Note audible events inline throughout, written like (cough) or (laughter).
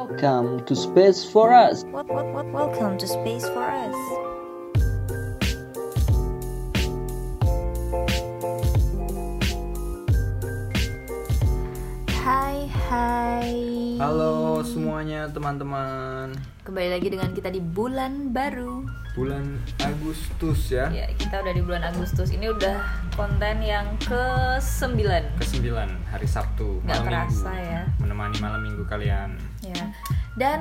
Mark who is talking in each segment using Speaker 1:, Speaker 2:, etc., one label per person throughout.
Speaker 1: Welcome to Space for Us.
Speaker 2: What, what, what, welcome to Space for Us. Hai, hai.
Speaker 3: Halo semuanya teman-teman
Speaker 2: Kembali lagi dengan kita di bulan baru.
Speaker 3: Bulan Agustus ya
Speaker 2: Ya, kita udah di bulan Agustus. Ini udah konten yang ke-9.
Speaker 3: ke sembilan hari Sabtu
Speaker 2: Nggak
Speaker 3: malam
Speaker 2: kerasa
Speaker 3: minggu
Speaker 2: ya.
Speaker 3: Menemani malam minggu kalian
Speaker 2: Ya. Dan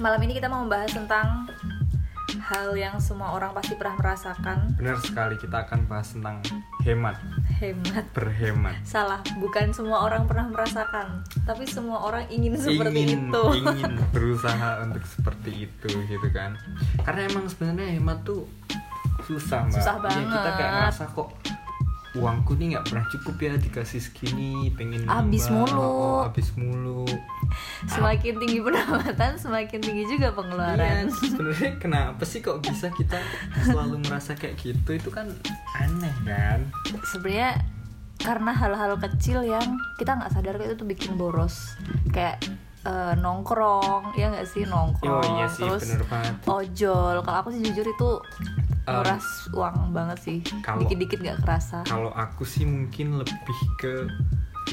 Speaker 2: malam ini kita mau membahas tentang hal yang semua orang pasti pernah merasakan,
Speaker 3: Benar sekali kita akan bahas tentang hemat
Speaker 2: hemat.
Speaker 3: Berhemat
Speaker 2: Salah, bukan semua orang pernah merasakan, tapi semua orang ingin seperti
Speaker 3: ingin,
Speaker 2: itu.
Speaker 3: ingin berusaha untuk seperti itu gitu kan Karena emang sebenarnya hemat tuh susah mbak
Speaker 2: Susah
Speaker 3: Ya, Kita kayak
Speaker 2: banget.
Speaker 3: ngerasa kok uangku nih nggak pernah cukup ya dikasih segini pengen
Speaker 2: Habis
Speaker 3: nambah,
Speaker 2: mulu.
Speaker 3: oh, habis mulu
Speaker 2: (laughs) Semakin tinggi pendapatan, semakin tinggi juga pengeluaran.
Speaker 3: Iya, sebenarnya kenapa sih kok bisa kita selalu merasa kayak gitu? Itu kan aneh kan?
Speaker 2: Sebenarnya karena hal-hal kecil yang kita nggak sadar itu tuh bikin boros. Kayak eh, nongkrong, ya nggak sih nongkrong.
Speaker 3: Oh iya sih,
Speaker 2: Terus
Speaker 3: bener banget.
Speaker 2: ojol. Kalau aku sih jujur itu
Speaker 3: Um,
Speaker 2: nguras uang banget sih.
Speaker 3: kalau-
Speaker 2: Dikit-dikit nggak kerasa.
Speaker 3: Kalau aku sih mungkin lebih ke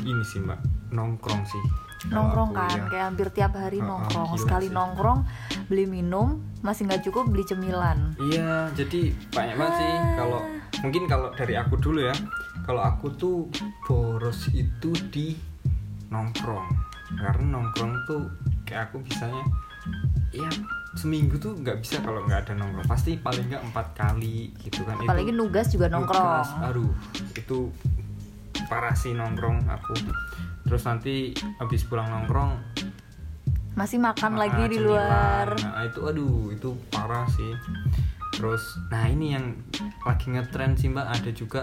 Speaker 3: ini sih mbak, nongkrong sih. Kalau
Speaker 2: nongkrong
Speaker 3: aku
Speaker 2: kan
Speaker 3: ya.
Speaker 2: kayak hampir tiap hari
Speaker 3: Oh, oh,
Speaker 2: nongkrong
Speaker 3: gila
Speaker 2: sekali
Speaker 3: sih.
Speaker 2: nongkrong beli minum masih nggak cukup beli cemilan
Speaker 3: Iya, jadi banyak banget sih.
Speaker 2: Ah.
Speaker 3: Kalau mungkin kalau dari aku dulu ya, kalau aku tuh boros itu di nongkrong. Karena nongkrong tuh kayak aku bisanya, ya seminggu tuh nggak bisa kalau nggak ada nongkrong. Pasti paling nggak empat kali gitu kan. Itu-
Speaker 2: apalagi nugas juga
Speaker 3: Lukas,
Speaker 2: nongkrong
Speaker 3: aduh, itu parah sih nongkrong aku. Terus nanti habis pulang nongkrong
Speaker 2: masih makan
Speaker 3: ah,
Speaker 2: lagi di
Speaker 3: cemilan.
Speaker 2: luar
Speaker 3: Nah, itu aduh, itu parah sih. Terus nah ini yang lagi ngetren sih Mbak, ada juga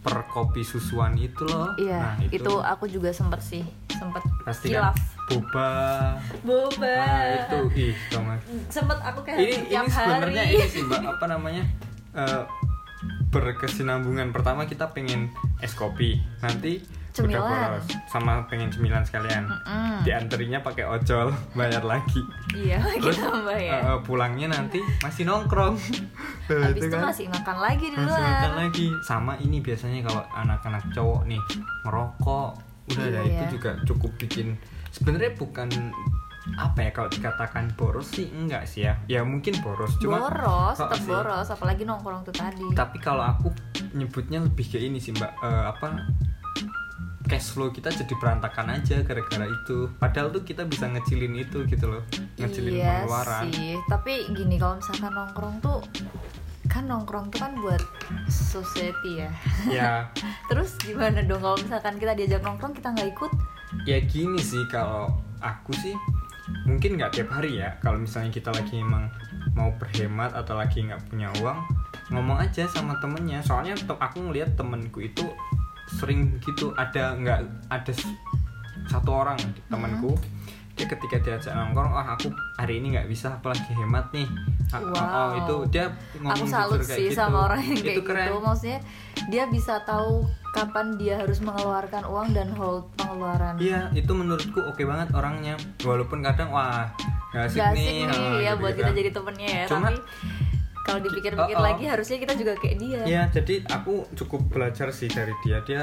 Speaker 3: per kopi susuan itu loh.
Speaker 2: iya
Speaker 3: Nah,
Speaker 2: itu. aku juga sempet sih sempet
Speaker 3: pasti kan
Speaker 2: kilaf
Speaker 3: boba.
Speaker 2: boba
Speaker 3: Nah, itu ih, tau nggak?
Speaker 2: sempet aku kayak
Speaker 3: ini
Speaker 2: Eh, tiap
Speaker 3: ini
Speaker 2: hari (laughs)
Speaker 3: sebenarnya ini sih mbak apa namanya eh, berkesinambungan pertama kita pengen es kopi nanti
Speaker 2: Cemilan.
Speaker 3: udah boros sama pengen cemilan sekalian
Speaker 2: Mm-mm.
Speaker 3: dianterinya pakai ojol bayar lagi
Speaker 2: Hmm, iya
Speaker 3: Terus,
Speaker 2: kita tambah ya
Speaker 3: eh, eh, pulangnya nanti masih nongkrong Tuh,
Speaker 2: habis itu
Speaker 3: kan.
Speaker 2: masih makan lagi di
Speaker 3: Masih makan
Speaker 2: luar
Speaker 3: lagi sama ini biasanya kalau anak-anak cowok nih merokok udah
Speaker 2: Iya
Speaker 3: ada
Speaker 2: ya.
Speaker 3: itu juga cukup bikin sebenarnya bukan apa ya kalau dikatakan boros sih enggak sih ya ya mungkin boros cuma
Speaker 2: boros
Speaker 3: Oh,
Speaker 2: tetap
Speaker 3: sih.
Speaker 2: boros apalagi nongkrong tuh tadi
Speaker 3: tapi kalau aku nyebutnya lebih ke ini sih mbak Eh, apa cash flow kita jadi berantakan aja gara-gara itu padahal tuh kita bisa ngecilin itu gitu loh ngecilin
Speaker 2: iya
Speaker 3: pengeluaran
Speaker 2: sih tapi gini kalau misalkan nongkrong tuh kan nongkrong tuh kan buat society ya (laughs)
Speaker 3: ya
Speaker 2: terus gimana dong kalau misalkan kita diajak nongkrong kita nggak ikut
Speaker 3: ya gini sih kalau aku sih mungkin nggak tiap hari ya kalau misalnya kita lagi emang mau berhemat atau lagi nggak punya uang ngomong aja sama temennya soalnya te- aku ngelihat temenku itu sering gitu ada nggak ada s- satu orang temanku
Speaker 2: Mm-hmm.
Speaker 3: dia ketika diajak nongkrong oh aku hari ini nggak bisa aku lagi hemat nih Ah, oh, oh,
Speaker 2: Wow.
Speaker 3: itu dia
Speaker 2: aku
Speaker 3: ngomong jujur
Speaker 2: salut
Speaker 3: kayak
Speaker 2: sih
Speaker 3: gitu.
Speaker 2: sama orang yang
Speaker 3: itu
Speaker 2: kayak
Speaker 3: keren
Speaker 2: gitu maksudnya dia bisa tahu kapan dia harus mengeluarkan uang dan hold pengeluaran
Speaker 3: Iya, itu menurutku oke banget orangnya. Walaupun kadang wah gak asik,
Speaker 2: Gak asik nih,
Speaker 3: oh,
Speaker 2: ya
Speaker 3: gitu
Speaker 2: buat
Speaker 3: kan.
Speaker 2: kita jadi temennya ya
Speaker 3: Cuma-
Speaker 2: tapi kalau dipikir-pikir
Speaker 3: Oh, oh.
Speaker 2: lagi harusnya kita juga kayak dia
Speaker 3: Iya, jadi aku cukup belajar sih dari dia. Dia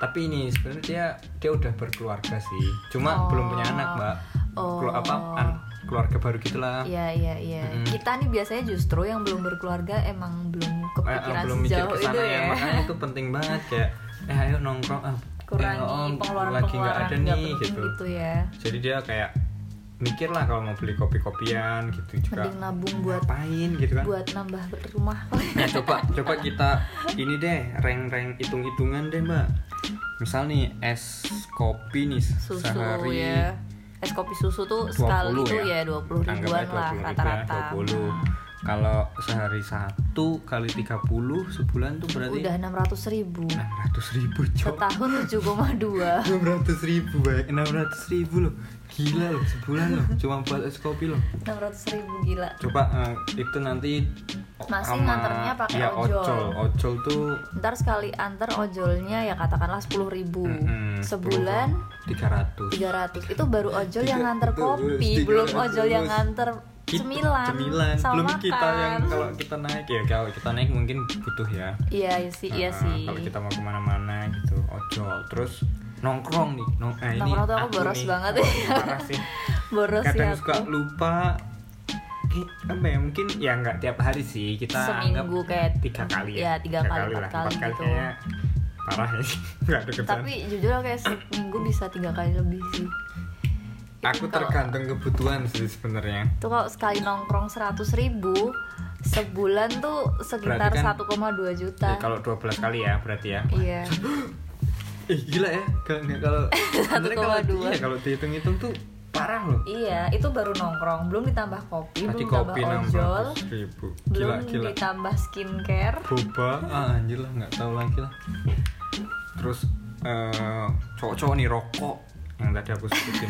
Speaker 3: tapi ini sebenarnya dia dia udah berkeluarga sih.
Speaker 2: Oh.
Speaker 3: Cuma belum punya anak, Mbak.
Speaker 2: Oh.
Speaker 3: Kelu- apa an- keluarga baru gitulah.
Speaker 2: Iya iya iya.
Speaker 3: Mm-mm.
Speaker 2: Kita nih biasanya justru yang belum berkeluarga emang belum
Speaker 3: Eh, eh,
Speaker 2: kepikiran
Speaker 3: belum mikir
Speaker 2: sejauh
Speaker 3: ke
Speaker 2: itu
Speaker 3: sana ya.
Speaker 2: ya.
Speaker 3: Makanya itu penting banget kayak eh ayo nongkrong ah.
Speaker 2: Kurangi
Speaker 3: eh, oh,
Speaker 2: pengeluaran
Speaker 3: lagi nggak
Speaker 2: pengeluaran
Speaker 3: ada
Speaker 2: nggak
Speaker 3: nih
Speaker 2: penting
Speaker 3: gitu.
Speaker 2: gitu. ya.
Speaker 3: Jadi dia kayak mikir lah kalau mau beli kopi-kopian gitu juga.
Speaker 2: Mending nabung buat
Speaker 3: Ngapain gitu kan?
Speaker 2: buat nambah rumah.
Speaker 3: Nah, coba coba kita ini deh reng-reng hitung-hitungan deh mbak misal nih es kopi nih
Speaker 2: (laughs) Susu
Speaker 3: sehari
Speaker 2: ya. Es kopi susu tuh
Speaker 3: 20
Speaker 2: sekali tuh ya
Speaker 3: ya.
Speaker 2: 20 ribuan
Speaker 3: Anggap aja
Speaker 2: lah
Speaker 3: 20 ribuan,
Speaker 2: rata-rata.
Speaker 3: 20. Kalau sehari satu kali 30 sebulan tuh berarti Nah,
Speaker 2: udah enam ratus ribu
Speaker 3: 600 ribu cok
Speaker 2: setahun
Speaker 3: (laughs)
Speaker 2: 7,2
Speaker 3: enam ratus ribu bay enam ratus ribu loh gila loh sebulan loh cuma buat es kopi loh
Speaker 2: 600 ribu gila
Speaker 3: coba eh, itu nanti
Speaker 2: Masih
Speaker 3: sama-
Speaker 2: nganternya pakai
Speaker 3: ya,
Speaker 2: ojol.
Speaker 3: ojol ojol tuh
Speaker 2: ntar sekali antar ojolnya ya katakanlah 10.000 ribu sebulan
Speaker 3: tiga ratus
Speaker 2: 300 itu baru ojol yang
Speaker 3: Tiga-
Speaker 2: nganter
Speaker 3: betul,
Speaker 2: kopi
Speaker 3: terus
Speaker 2: belum
Speaker 3: 300.
Speaker 2: ojol yang nganter cemilan, sama
Speaker 3: Gitu, belum
Speaker 2: makan
Speaker 3: kita yang kalau kita naik ya kalau kita naik mungkin butuh ya
Speaker 2: iya iya sih iya
Speaker 3: Nah,
Speaker 2: sih
Speaker 3: kalau kita mau kemana-mana gitu ojol terus nongkrong nih nong eh, ini
Speaker 2: Nongkrong tuh aku boros
Speaker 3: nih,
Speaker 2: banget.
Speaker 3: parah sih
Speaker 2: (laughs) boros
Speaker 3: kadang
Speaker 2: ya
Speaker 3: suka
Speaker 2: aku
Speaker 3: lupa Ki- apa ya mungkin ya nggak tiap hari sih kita
Speaker 2: Seminggu
Speaker 3: anggap
Speaker 2: kayak-
Speaker 3: tiga kali
Speaker 2: ya, tiga kali, empat
Speaker 3: lah.
Speaker 2: kali
Speaker 3: Empat
Speaker 2: gitu.
Speaker 3: kayaknya parah ya sih (laughs) nggak ada kebetulan.
Speaker 2: tapi jujur aku kayak seminggu bisa tiga kali lebih sih
Speaker 3: aku
Speaker 2: kalau-
Speaker 3: tergantung kebutuhan sih sebenarnya
Speaker 2: itu kalau sekali nongkrong 100.000 ribu sebulan tuh sekitar
Speaker 3: Berarti kan-
Speaker 2: 1,2 juta
Speaker 3: Ya, kalau 12 kali ya berarti ya (gasps)
Speaker 2: iya
Speaker 3: eh gila ya kalau nggak-
Speaker 2: (laughs)
Speaker 3: kalau sebenarnya kalau
Speaker 2: 1,2.
Speaker 3: iya, kalau dihitung-hitung tuh parah loh
Speaker 2: iya itu baru nongkrong belum ditambah kopi
Speaker 3: Tadi
Speaker 2: belum
Speaker 3: kopi
Speaker 2: tambah ojol
Speaker 3: 600 ribu
Speaker 2: belum
Speaker 3: Gila gila
Speaker 2: ditambah skincare
Speaker 3: boba ah, anjir lah nggak tahu lagi lah terus eh, cowok-cowok nih rokok yang tadi aku
Speaker 2: (laughs)
Speaker 3: sebutin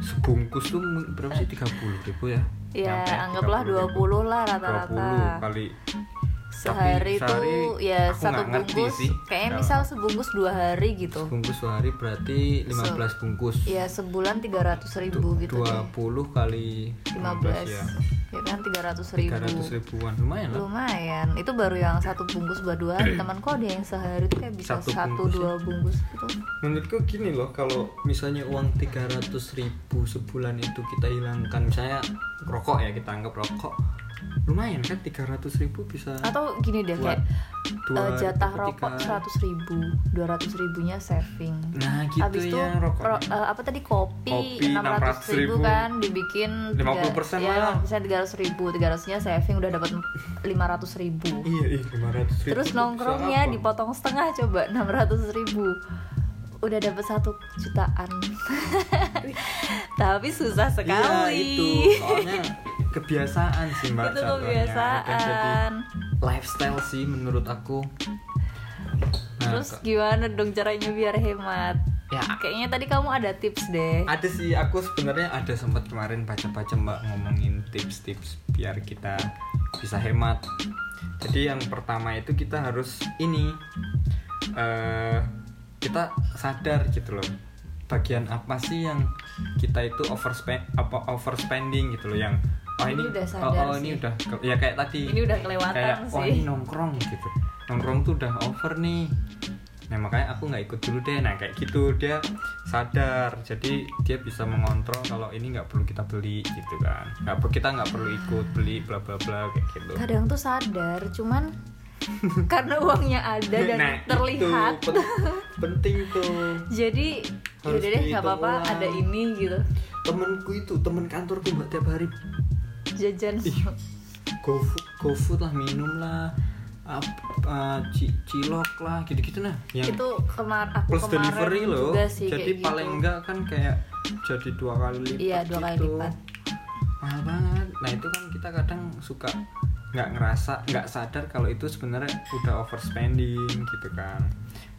Speaker 3: sebungkus tuh mu- berapa sih 30 ribu ya
Speaker 2: ya
Speaker 3: Nyampe
Speaker 2: anggaplah 20
Speaker 3: ribu.
Speaker 2: lah
Speaker 3: 20
Speaker 2: rata-rata
Speaker 3: kali
Speaker 2: sehari
Speaker 3: Tapi sehari
Speaker 2: tuh ya
Speaker 3: aku
Speaker 2: satu
Speaker 3: nggak ngerti
Speaker 2: bungkus
Speaker 3: sih.
Speaker 2: kayaknya
Speaker 3: Kalau-
Speaker 2: misal sebungkus dua hari gitu
Speaker 3: bungkus sehari berarti 15 bungkus
Speaker 2: ya sebulan 300.000 ribu gitu deh.
Speaker 3: 20 kali
Speaker 2: 15
Speaker 3: ya
Speaker 2: ya kan 300.000
Speaker 3: 300 ribuan lumayan lah
Speaker 2: lumayan itu baru yang satu bungkus buat dua hari teman kok ada yang sehari tuh kayak bisa
Speaker 3: Satu
Speaker 2: satu,
Speaker 3: bungkus ya? Hmm.
Speaker 2: dua bungkus gitu
Speaker 3: menurutku gini loh kalau misalnya uang 300 ribu sebulan itu kita hilangkan misalnya rokok ya kita anggap rokok lumayan kan 300 ribu bisa
Speaker 2: atau gini deh
Speaker 3: buat
Speaker 2: kayak
Speaker 3: dua
Speaker 2: eh, jatah
Speaker 3: atau tiga.
Speaker 2: rokok 100.000 ribu 200 ribunya saving
Speaker 3: nah gitu
Speaker 2: Habis itu
Speaker 3: ya rokok
Speaker 2: ro- eh, apa tadi kopi,
Speaker 3: Kopi
Speaker 2: 600 ribu,
Speaker 3: 600.000.
Speaker 2: kan dibikin iya,
Speaker 3: 50% malah.
Speaker 2: tiga ratus ribu, tiga nya saving udah dapat 500 ribu.
Speaker 3: iya iya 500 ribu
Speaker 2: Terus
Speaker 3: tuh
Speaker 2: nongkrongnya
Speaker 3: bisa apa?
Speaker 2: dipotong setengah coba 600 ribu udah dapat satu jutaan (laughs) tapi susah
Speaker 3: iya
Speaker 2: sekali (laughs)
Speaker 3: itu soalnya kebiasaan sih mbak
Speaker 2: Itu
Speaker 3: jatuhnya. Udah jadi nah,
Speaker 2: kebiasaan
Speaker 3: lifestyle sih menurut aku Nah,
Speaker 2: terus
Speaker 3: kok-
Speaker 2: gimana dong caranya biar hemat
Speaker 3: ya
Speaker 2: kayaknya tadi kamu ada tips deh
Speaker 3: ada sih aku sebenarnya ada sempat kemarin baca-baca mbak ngomongin tips-tips biar kita bisa hemat jadi yang pertama itu kita harus ini eh kita sadar gitu loh bagian apa sih yang kita itu overspend apa overspending gitu loh yang oh ini,
Speaker 2: Ini udah
Speaker 3: oh,
Speaker 2: sadar
Speaker 3: oh, ini
Speaker 2: sih.
Speaker 3: udah ke- ya kayak tadi
Speaker 2: ini udah kelewatan
Speaker 3: kayak wah
Speaker 2: sih
Speaker 3: ini nongkrong gitu nongkrong tuh udah over nih nah makanya aku nggak ikut dulu deh nah kayak gitu dia sadar jadi dia bisa mengontrol kalau ini nggak perlu kita beli gitu kan nggak per- kita nggak perlu ikut beli bla bla bla kayak gitu
Speaker 2: kadang tuh sadar cuman (laughs) karena uangnya ada dan
Speaker 3: Nah,
Speaker 2: terlihat
Speaker 3: itu pen- penting tuh
Speaker 2: (laughs) jadi
Speaker 3: Harus
Speaker 2: yaudah deh nggak apa-apa
Speaker 3: dihitung ulang.
Speaker 2: ada ini gitu
Speaker 3: temenku itu temen kantorku mbak tiap hari
Speaker 2: jajan
Speaker 3: Iya. go gofood lah minum lah ap- eh, ci- cilok lah gitu gitu nah yang
Speaker 2: itu kemar aku
Speaker 3: plus
Speaker 2: kemarin
Speaker 3: delivery loh
Speaker 2: juga sih
Speaker 3: jadi
Speaker 2: kayak
Speaker 3: paling
Speaker 2: gitu.
Speaker 3: enggak kan kayak jadi dua kali lipat
Speaker 2: iya dua kali
Speaker 3: gitu.
Speaker 2: lipat
Speaker 3: mahal banget nah itu kan kita kadang suka nggak ngerasa nggak sadar kalau itu sebenarnya udah overspending gitu kan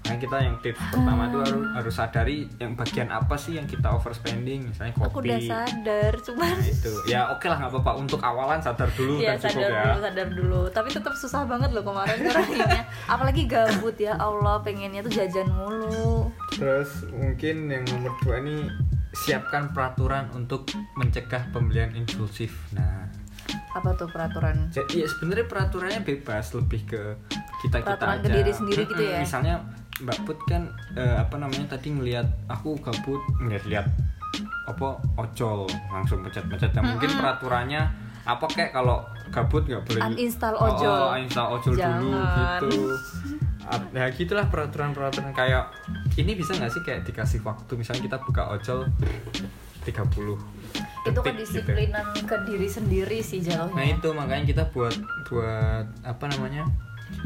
Speaker 3: makanya kita yang
Speaker 2: Ah.
Speaker 3: tips pertama itu harus harus sadari yang bagian apa sih yang kita overspending misalnya kopi
Speaker 2: aku udah sadar cuman
Speaker 3: Nah, itu ya oke lah nggak apa-apa untuk awalan sadar dulu
Speaker 2: (laughs) Iya
Speaker 3: udah cukup
Speaker 2: sadar
Speaker 3: ya
Speaker 2: dulu sadar dulu tapi tetap susah banget loh kemarin ngerahinnya apalagi gabut ya Allah pengennya tuh jajan mulu
Speaker 3: Terus mungkin yang nomor dua ini siapkan peraturan untuk mencegah pembelian impulsif. Nah,
Speaker 2: apa tuh peraturan
Speaker 3: jadi ya sebenarnya peraturannya bebas lebih ke kita kita
Speaker 2: Peraturan
Speaker 3: aja.
Speaker 2: ke diri sendiri gitu ya?
Speaker 3: Misalnya Mbak Put kan eh, apa namanya tadi ngelihat aku gabut ngelihat lihat apa ojol langsung pencet-pencet. Nah, mungkin peraturannya apa kayak kalau gabut nggak boleh
Speaker 2: Uninstall
Speaker 3: Oh,
Speaker 2: ojol.
Speaker 3: oh, uninstall ojol dulu
Speaker 2: Jangan.
Speaker 3: gitu. Ap- Ya gitulah peraturan-peraturan kayak ini bisa nggak sih kayak dikasih waktu misalnya kita buka ojol 30
Speaker 2: itu
Speaker 3: detik gitu.
Speaker 2: kedisiplinan ke diri sendiri sih
Speaker 3: Nah
Speaker 2: jatuhnya
Speaker 3: itu makanya kita buat buat apa namanya?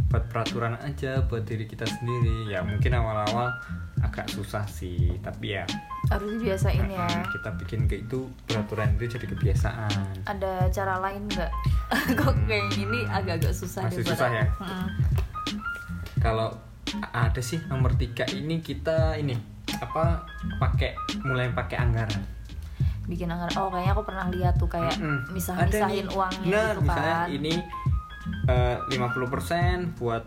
Speaker 3: Buat peraturan aja buat diri kita sendiri. Ya mungkin awal-awal agak agak susah sih tapi ya
Speaker 2: harus dibiasain ya
Speaker 3: mm, kita bikin ke itu peraturan itu jadi kebiasaan
Speaker 2: ada cara lain nggak (laughs) kok kayak ini agak-agak susah deh
Speaker 3: Masih
Speaker 2: buat
Speaker 3: susah
Speaker 2: aku.
Speaker 3: ya?
Speaker 2: Mm-mm.
Speaker 3: kalau a- ada sih nomor tiga ini kita ini apa pakai mulai pakai anggaran
Speaker 2: bikin anggaran oh kayaknya aku pernah lihat tuh kayak
Speaker 3: Mm-mm. Ada
Speaker 2: misah-misahin
Speaker 3: nih.
Speaker 2: uangnya
Speaker 3: nah,
Speaker 2: gitu
Speaker 3: misalnya
Speaker 2: kan
Speaker 3: ini eh, lima 50% buat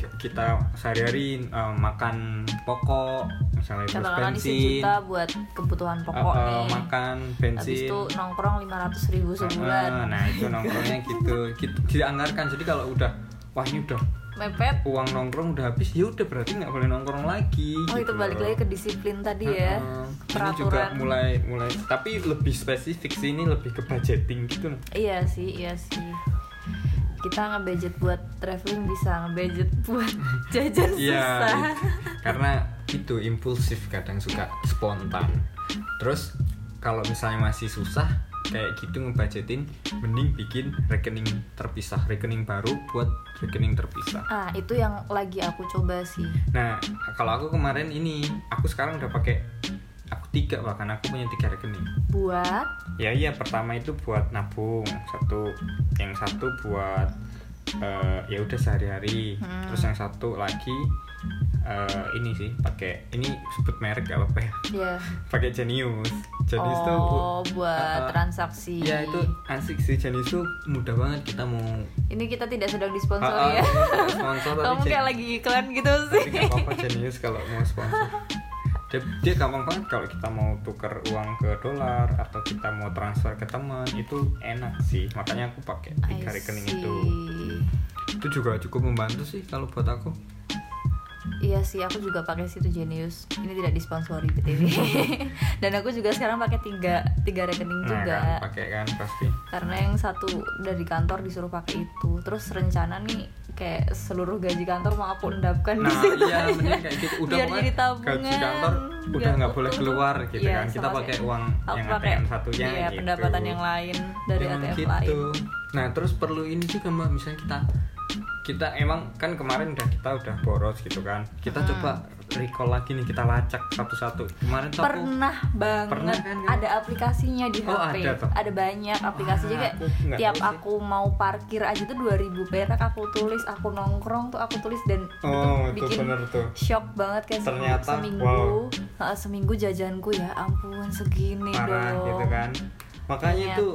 Speaker 3: ki- kita sehari-hari eh, makan pokok misalnya terus
Speaker 2: katakanlah isi
Speaker 3: bensin
Speaker 2: juta buat kebutuhan
Speaker 3: eh,
Speaker 2: pokok
Speaker 3: eh,
Speaker 2: nih
Speaker 3: makan
Speaker 2: habis
Speaker 3: bensin
Speaker 2: itu nongkrong 500 ribu
Speaker 3: Ah,
Speaker 2: sebulan
Speaker 3: nah itu
Speaker 2: (laughs)
Speaker 3: nongkrongnya gitu kita dianggarkan jadi kalau udah wah ini udah
Speaker 2: mepet
Speaker 3: uang nongkrong udah habis ya udah berarti nggak boleh nongkrong lagi
Speaker 2: oh itu
Speaker 3: gitu
Speaker 2: balik
Speaker 3: loh.
Speaker 2: lagi ke disiplin tadi ya
Speaker 3: Heeh. ini juga
Speaker 2: peraturan
Speaker 3: mulai mulai tapi lebih spesifik sih ini lebih ke budgeting gitu loh.
Speaker 2: iya sih iya sih kita ngebudget buat traveling bisa ngebudget (laughs) buat jajan
Speaker 3: Iya,
Speaker 2: susah
Speaker 3: it- karena itu impulsif kadang suka spontan. Terus kalau misalnya masih susah kayak gitu ngebajetin, mending bikin rekening terpisah, rekening baru buat rekening terpisah.
Speaker 2: ah itu yang lagi aku coba sih
Speaker 3: Nah, kalau aku kemarin ini, aku sekarang udah pakai aku tiga bahkan aku punya tiga rekening.
Speaker 2: buat
Speaker 3: Ya iya, pertama itu buat nabung satu, yang satu buat eh, ya udah sehari-hari.
Speaker 2: Hmm.
Speaker 3: Terus yang satu lagi eh, ini sih pakai ini sebut merek gak apa-apa ya.
Speaker 2: ya
Speaker 3: Pakai Genius. Genius tuh
Speaker 2: oh
Speaker 3: Ah,
Speaker 2: buat
Speaker 3: ah.
Speaker 2: transaksi
Speaker 3: Ya itu asik sih Genius tuh mudah banget kita mau
Speaker 2: ini kita tidak sedang
Speaker 3: Ah, ah,
Speaker 2: disponsori ya (laughs)
Speaker 3: sponsor tapi
Speaker 2: kamu
Speaker 3: Gen-
Speaker 2: kayak lagi iklan gitu sih
Speaker 3: tapi nggak apa-apa jenius kalau mau sponsor dia, dia gampang banget kalau kita mau tuker uang ke dolar atau kita mau transfer ke teman itu enak sih makanya aku pakai tiga
Speaker 2: I
Speaker 3: rekening
Speaker 2: see.
Speaker 3: itu itu juga cukup membantu sih kalau buat aku
Speaker 2: Iya sih, aku juga pakai situ Genius. Ini tidak disponsori BTW. (laughs) Dan aku juga sekarang pakai tiga tiga rekening
Speaker 3: nah
Speaker 2: juga.
Speaker 3: kan pakai kan pasti
Speaker 2: Karena yang satu dari kantor disuruh pakai itu. Terus rencana nih kayak seluruh gaji kantor mau aku endapkan di
Speaker 3: nah
Speaker 2: situ.
Speaker 3: iya
Speaker 2: aja.
Speaker 3: mending kayak gitu udah
Speaker 2: Biar
Speaker 3: pokoknya
Speaker 2: jadi tabungan.
Speaker 3: gaji kantor udah
Speaker 2: biar
Speaker 3: nggak boleh
Speaker 2: utuh.
Speaker 3: keluar gitu
Speaker 2: Iya,
Speaker 3: kan kita
Speaker 2: sama
Speaker 3: pakai
Speaker 2: kayak
Speaker 3: uang
Speaker 2: aku
Speaker 3: yang
Speaker 2: pakai,
Speaker 3: ATM satunya
Speaker 2: iya,
Speaker 3: gitu.
Speaker 2: pendapatan yang lain dari
Speaker 3: Emang
Speaker 2: ATM
Speaker 3: gitu.
Speaker 2: lain.
Speaker 3: Nah terus perlu ini juga mbak, misalnya kita kita emang kan kemarin udah kita udah boros gitu kan, kita
Speaker 2: Hmm.
Speaker 3: coba recall lagi nih kita lacak satu-satu. Kemarin tuh aku
Speaker 2: pernah banget
Speaker 3: Pernah kan, kamu?
Speaker 2: ada aplikasinya di
Speaker 3: Oh,
Speaker 2: HP
Speaker 3: ada tuh.
Speaker 2: banyak aplikasinya
Speaker 3: Wah,
Speaker 2: kayak
Speaker 3: aku nggak
Speaker 2: tiap
Speaker 3: tahu sih.
Speaker 2: aku mau parkir aja tuh 2000 perak aku tulis aku nongkrong tuh aku tulis dan
Speaker 3: Oh itu
Speaker 2: bikin
Speaker 3: bener tuh.
Speaker 2: shock banget kayak se-
Speaker 3: Ternyata,
Speaker 2: seminggu
Speaker 3: wow.
Speaker 2: Heeh, seminggu jajanku ya ampun segini dong
Speaker 3: parah gitu kan
Speaker 2: Ternyata.
Speaker 3: makanya tuh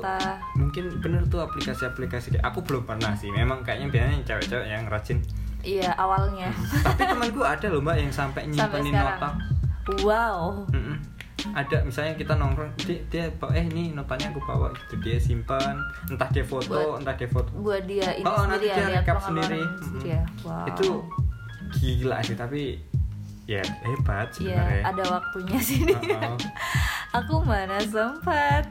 Speaker 3: mungkin bener tuh aplikasi-aplikasi kayak- aku belum pernah sih memang kayaknya biasanya yang cewek-cewek yang
Speaker 2: (laughs)
Speaker 3: rajin
Speaker 2: iya
Speaker 3: (laughs)
Speaker 2: awalnya
Speaker 3: tapi temanku ada loh mbak yang sampai
Speaker 2: sampai
Speaker 3: nyimpenin
Speaker 2: sekarang
Speaker 3: nota
Speaker 2: wow
Speaker 3: Mm-mm. ada misalnya kita nongkrong dia, dia bawa eh nih notanya aku bawa gitu dia simpan entah dia foto
Speaker 2: Buat-
Speaker 3: entah dia foto
Speaker 2: buat dia ini
Speaker 3: Oh,
Speaker 2: sendiri
Speaker 3: nanti
Speaker 2: ya
Speaker 3: dia
Speaker 2: lihat
Speaker 3: rekap
Speaker 2: pengeluaran
Speaker 3: sendiri.
Speaker 2: sendiri
Speaker 3: Mm-mm.
Speaker 2: ya wow
Speaker 3: itu gila sih tapi ya
Speaker 2: Iya,
Speaker 3: hebat sebenarnya ya.
Speaker 2: ada waktunya
Speaker 3: (laughs)
Speaker 2: sih dia.
Speaker 3: Uh-uh.
Speaker 2: Aku mana
Speaker 3: (laughs)
Speaker 2: sempat.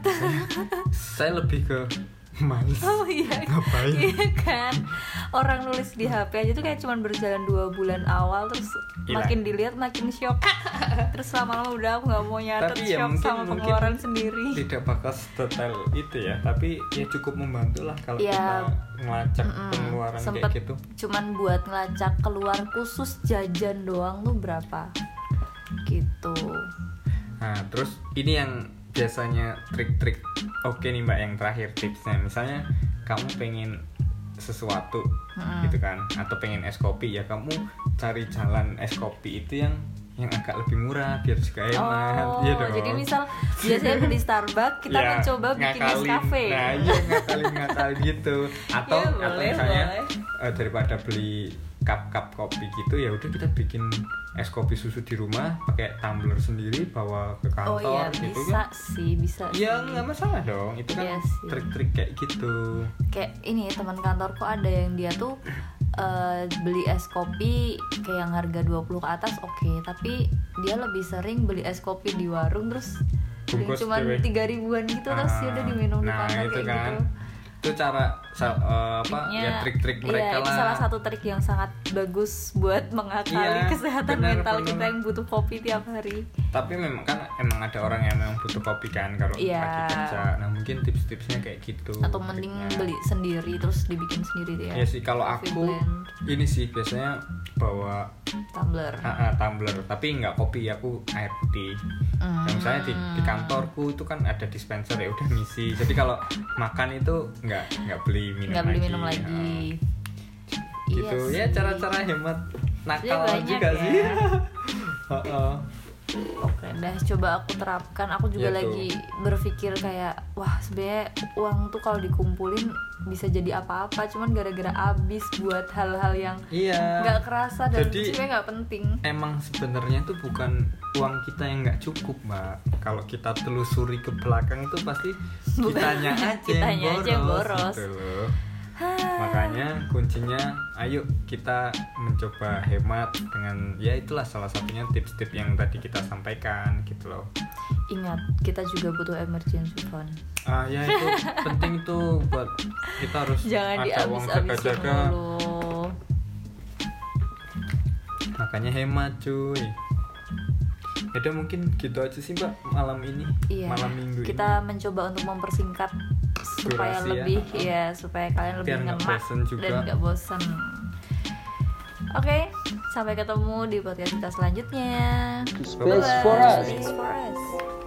Speaker 3: saya lebih ke (laughs) males
Speaker 2: Oh iya.
Speaker 3: Ngapain?
Speaker 2: Iya kan. Orang nulis di HP aja tuh kayak cuman berjalan dua bulan awal terus
Speaker 3: Gila.
Speaker 2: makin dilihat makin shock. (laughs) terus lama-lama udah aku nggak mau nyatet
Speaker 3: Tapi ya
Speaker 2: shock
Speaker 3: mungkin-
Speaker 2: sama
Speaker 3: mungkin-
Speaker 2: pengeluaran sendiri.
Speaker 3: tidak bakal detail itu ya tapi ya cukup membantu lah kalau
Speaker 2: Iya.
Speaker 3: kita ngelacak
Speaker 2: Mm-mm.
Speaker 3: pengeluaran
Speaker 2: Sempet
Speaker 3: kayak gitu
Speaker 2: cuman buat ngelacak keluar khusus jajan doang tuh berapa gitu
Speaker 3: nah terus ini yang biasanya trik-trik oke nih mbak yang terakhir tipsnya misalnya kamu pengen sesuatu
Speaker 2: Mm-mm.
Speaker 3: gitu kan atau pengen es kopi ya kamu cari jalan es kopi itu yang yang agak lebih murah biar juga hemat
Speaker 2: Oh,
Speaker 3: Iya dong.
Speaker 2: jadi misal biasanya beli Starbucks, kita
Speaker 3: Ya,
Speaker 2: mencoba bikin
Speaker 3: ngakalin.
Speaker 2: Nescafe.
Speaker 3: Nah, iya ngakalin ngakalin
Speaker 2: (laughs)
Speaker 3: gitu. Atau
Speaker 2: Iya,
Speaker 3: atau
Speaker 2: boleh,
Speaker 3: misalnya
Speaker 2: boleh.
Speaker 3: eh, daripada beli cup-cup kopi gitu ya udah kita bikin es kopi susu di rumah pakai tumbler sendiri bawa ke
Speaker 2: Oh
Speaker 3: kantor
Speaker 2: iya
Speaker 3: gitu
Speaker 2: bisa
Speaker 3: kan.
Speaker 2: sih bisa.
Speaker 3: Ya
Speaker 2: sih.
Speaker 3: nggak masalah dong. Itu kan
Speaker 2: Iya sih.
Speaker 3: trik-trik kayak gitu.
Speaker 2: Kayak ini teman kantorku ada yang dia tuh eh, beli es kopi kayak yang harga 20 ke atas oke, tapi dia lebih sering beli es kopi di warung terus
Speaker 3: Bungkus
Speaker 2: cuma
Speaker 3: gitu ya.
Speaker 2: tiga ribuan gitu terus ya
Speaker 3: Ah,
Speaker 2: udah diminum di
Speaker 3: nah,
Speaker 2: kantor
Speaker 3: itu
Speaker 2: kayak
Speaker 3: kan.
Speaker 2: gitu.
Speaker 3: itu cara sa- eh, apa
Speaker 2: Triknya-
Speaker 3: ya trik-trik
Speaker 2: iya,
Speaker 3: mereka
Speaker 2: itu
Speaker 3: lah
Speaker 2: salah satu trik yang sangat bagus buat mengakali
Speaker 3: Iya,
Speaker 2: kesehatan
Speaker 3: benar,
Speaker 2: mental
Speaker 3: benar.
Speaker 2: kita yang butuh kopi tiap hari
Speaker 3: tapi memang kan emang ada orang yang memang butuh kopi kan kalau
Speaker 2: Iya.
Speaker 3: lagi kerja nah mungkin tips-tipsnya kayak gitu
Speaker 2: atau mending
Speaker 3: triknya.
Speaker 2: beli sendiri terus dibikin sendiri ya
Speaker 3: ya sih kalau
Speaker 2: Coffee
Speaker 3: aku
Speaker 2: blend,
Speaker 3: ini sih biasanya bawa
Speaker 2: tumbler
Speaker 3: ah, ah, tumbler tapi nggak kopi aku air putih
Speaker 2: Hmm.
Speaker 3: Nah, misalnya di, di kantorku itu kan ada dispenser ya udah ngisi jadi kalau makan itu nggak nggak beli minum
Speaker 2: nggak
Speaker 3: lagi
Speaker 2: beli minum lagi Iya
Speaker 3: Ah, gitu ya
Speaker 2: sih.
Speaker 3: cara-cara hemat
Speaker 2: Sebenarnya
Speaker 3: nakal
Speaker 2: banyak
Speaker 3: juga
Speaker 2: ya.
Speaker 3: sih (laughs) Heeh.
Speaker 2: Oke, dah coba aku terapkan. Aku juga
Speaker 3: Iya tuh.
Speaker 2: lagi berpikir kayak wah sebenarnya uang tuh kalau dikumpulin bisa jadi apa-apa. Cuman gara-gara abis buat hal-hal yang
Speaker 3: iya
Speaker 2: nggak kerasa dan
Speaker 3: Jadi-
Speaker 2: sebenarnya nggak penting.
Speaker 3: emang sebenarnya tuh bukan uang kita yang nggak cukup mbak kalau kita telusuri ke belakang tuh pasti
Speaker 2: Bukan. (laughs)
Speaker 3: kitanya aja yang
Speaker 2: Kitanya aja yang boros.
Speaker 3: gitu loh. makanya kuncinya ayo kita mencoba hemat dengan ya itulah salah satunya tips-tips yang tadi kita sampaikan gitu loh
Speaker 2: Ingat, kita juga butuh emergency fund.
Speaker 3: ah ya
Speaker 2: (laughs)
Speaker 3: itu penting tuh buat kita harus
Speaker 2: Jangan
Speaker 3: ada uang
Speaker 2: dihabis-habisin
Speaker 3: jaga-jaga
Speaker 2: dulu.
Speaker 3: makanya hemat cuy Yaudah mungkin gitu aja sih mbak malam ini
Speaker 2: Iya.
Speaker 3: malam minggu ini
Speaker 2: kita mencoba untuk mempersingkat supaya
Speaker 3: Durasi ya,
Speaker 2: lebih
Speaker 3: ha-ha.
Speaker 2: ya, supaya kalian lebih
Speaker 3: Biar nggak
Speaker 2: ngemak
Speaker 3: bosen juga.
Speaker 2: dan nggak bosen. Oke, sampai ketemu di podcast kita selanjutnya.
Speaker 1: To space for us.
Speaker 2: Space for us.